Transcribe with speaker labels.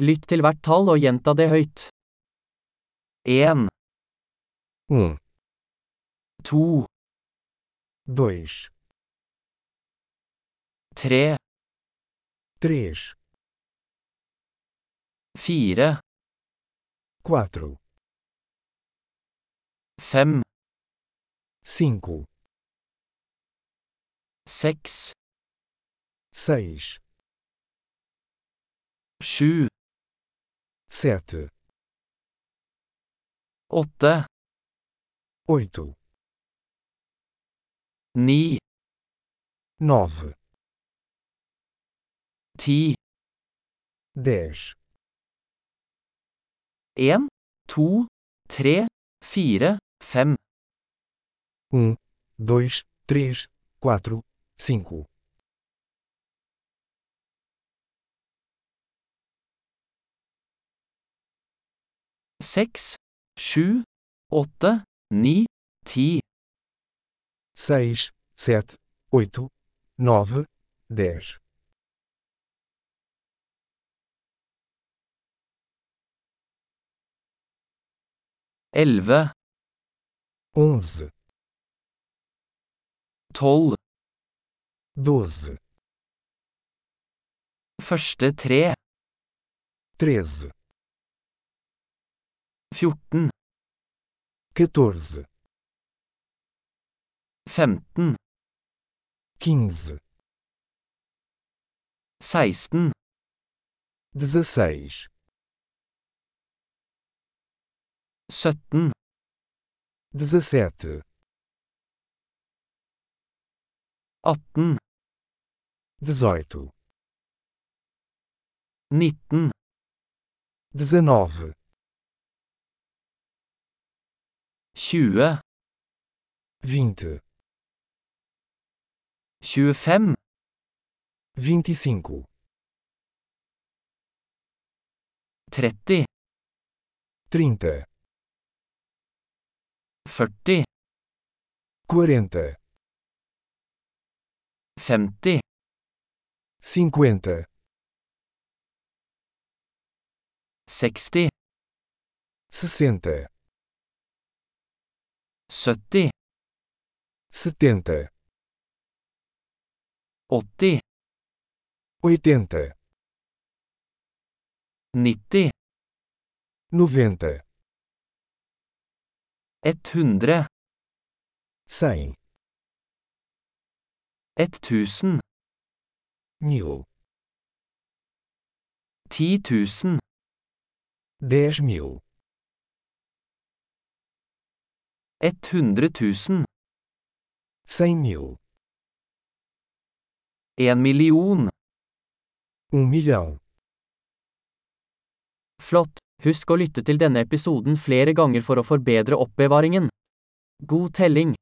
Speaker 1: Lytt til hvert tall og gjenta det høyt. 1,
Speaker 2: Um,
Speaker 1: 2,
Speaker 2: dois,
Speaker 1: 3,
Speaker 2: três,
Speaker 1: 4,
Speaker 2: quatro,
Speaker 1: 5,
Speaker 2: cinco,
Speaker 1: 6,
Speaker 2: seis,
Speaker 1: 7,
Speaker 2: sete,
Speaker 1: 8,
Speaker 2: oito,
Speaker 1: 9,
Speaker 2: nove,
Speaker 1: 10,
Speaker 2: dez,
Speaker 1: 1, 2, 3, 4, 5,
Speaker 2: um, dois, três, quatro, cinco,
Speaker 1: 6, 7, 8, 9, 10,
Speaker 2: seis, sete, oito, nove, dez,
Speaker 1: 11,
Speaker 2: onze,
Speaker 1: 12,
Speaker 2: doze,
Speaker 1: første 3,
Speaker 2: treze,
Speaker 1: 14,
Speaker 2: quatorze,
Speaker 1: 15,
Speaker 2: quinze,
Speaker 1: 16,
Speaker 2: dezesseis,
Speaker 1: 17,
Speaker 2: dezessete,
Speaker 1: 18,
Speaker 2: dezoito,
Speaker 1: 19,
Speaker 2: dezenove,
Speaker 1: 20,
Speaker 2: vinte,
Speaker 1: 25,
Speaker 2: vinte e cinco,
Speaker 1: 30,
Speaker 2: trinta,
Speaker 1: 40,
Speaker 2: quarenta,
Speaker 1: 50,
Speaker 2: cinquenta,
Speaker 1: 60,
Speaker 2: sessenta.
Speaker 1: 70,
Speaker 2: setenta,
Speaker 1: 80,
Speaker 2: oitenta,
Speaker 1: 90,
Speaker 2: noventa,
Speaker 1: 100,
Speaker 2: cem,
Speaker 1: 1000,
Speaker 2: mil,
Speaker 1: 10 000,
Speaker 2: dez mil,
Speaker 1: 100 000,
Speaker 2: cem mil,
Speaker 1: 1 million.
Speaker 2: um milhão.
Speaker 1: Flott! Husk å lytte til denne episoden flere ganger for å forbedre oppbevaringen. God telling!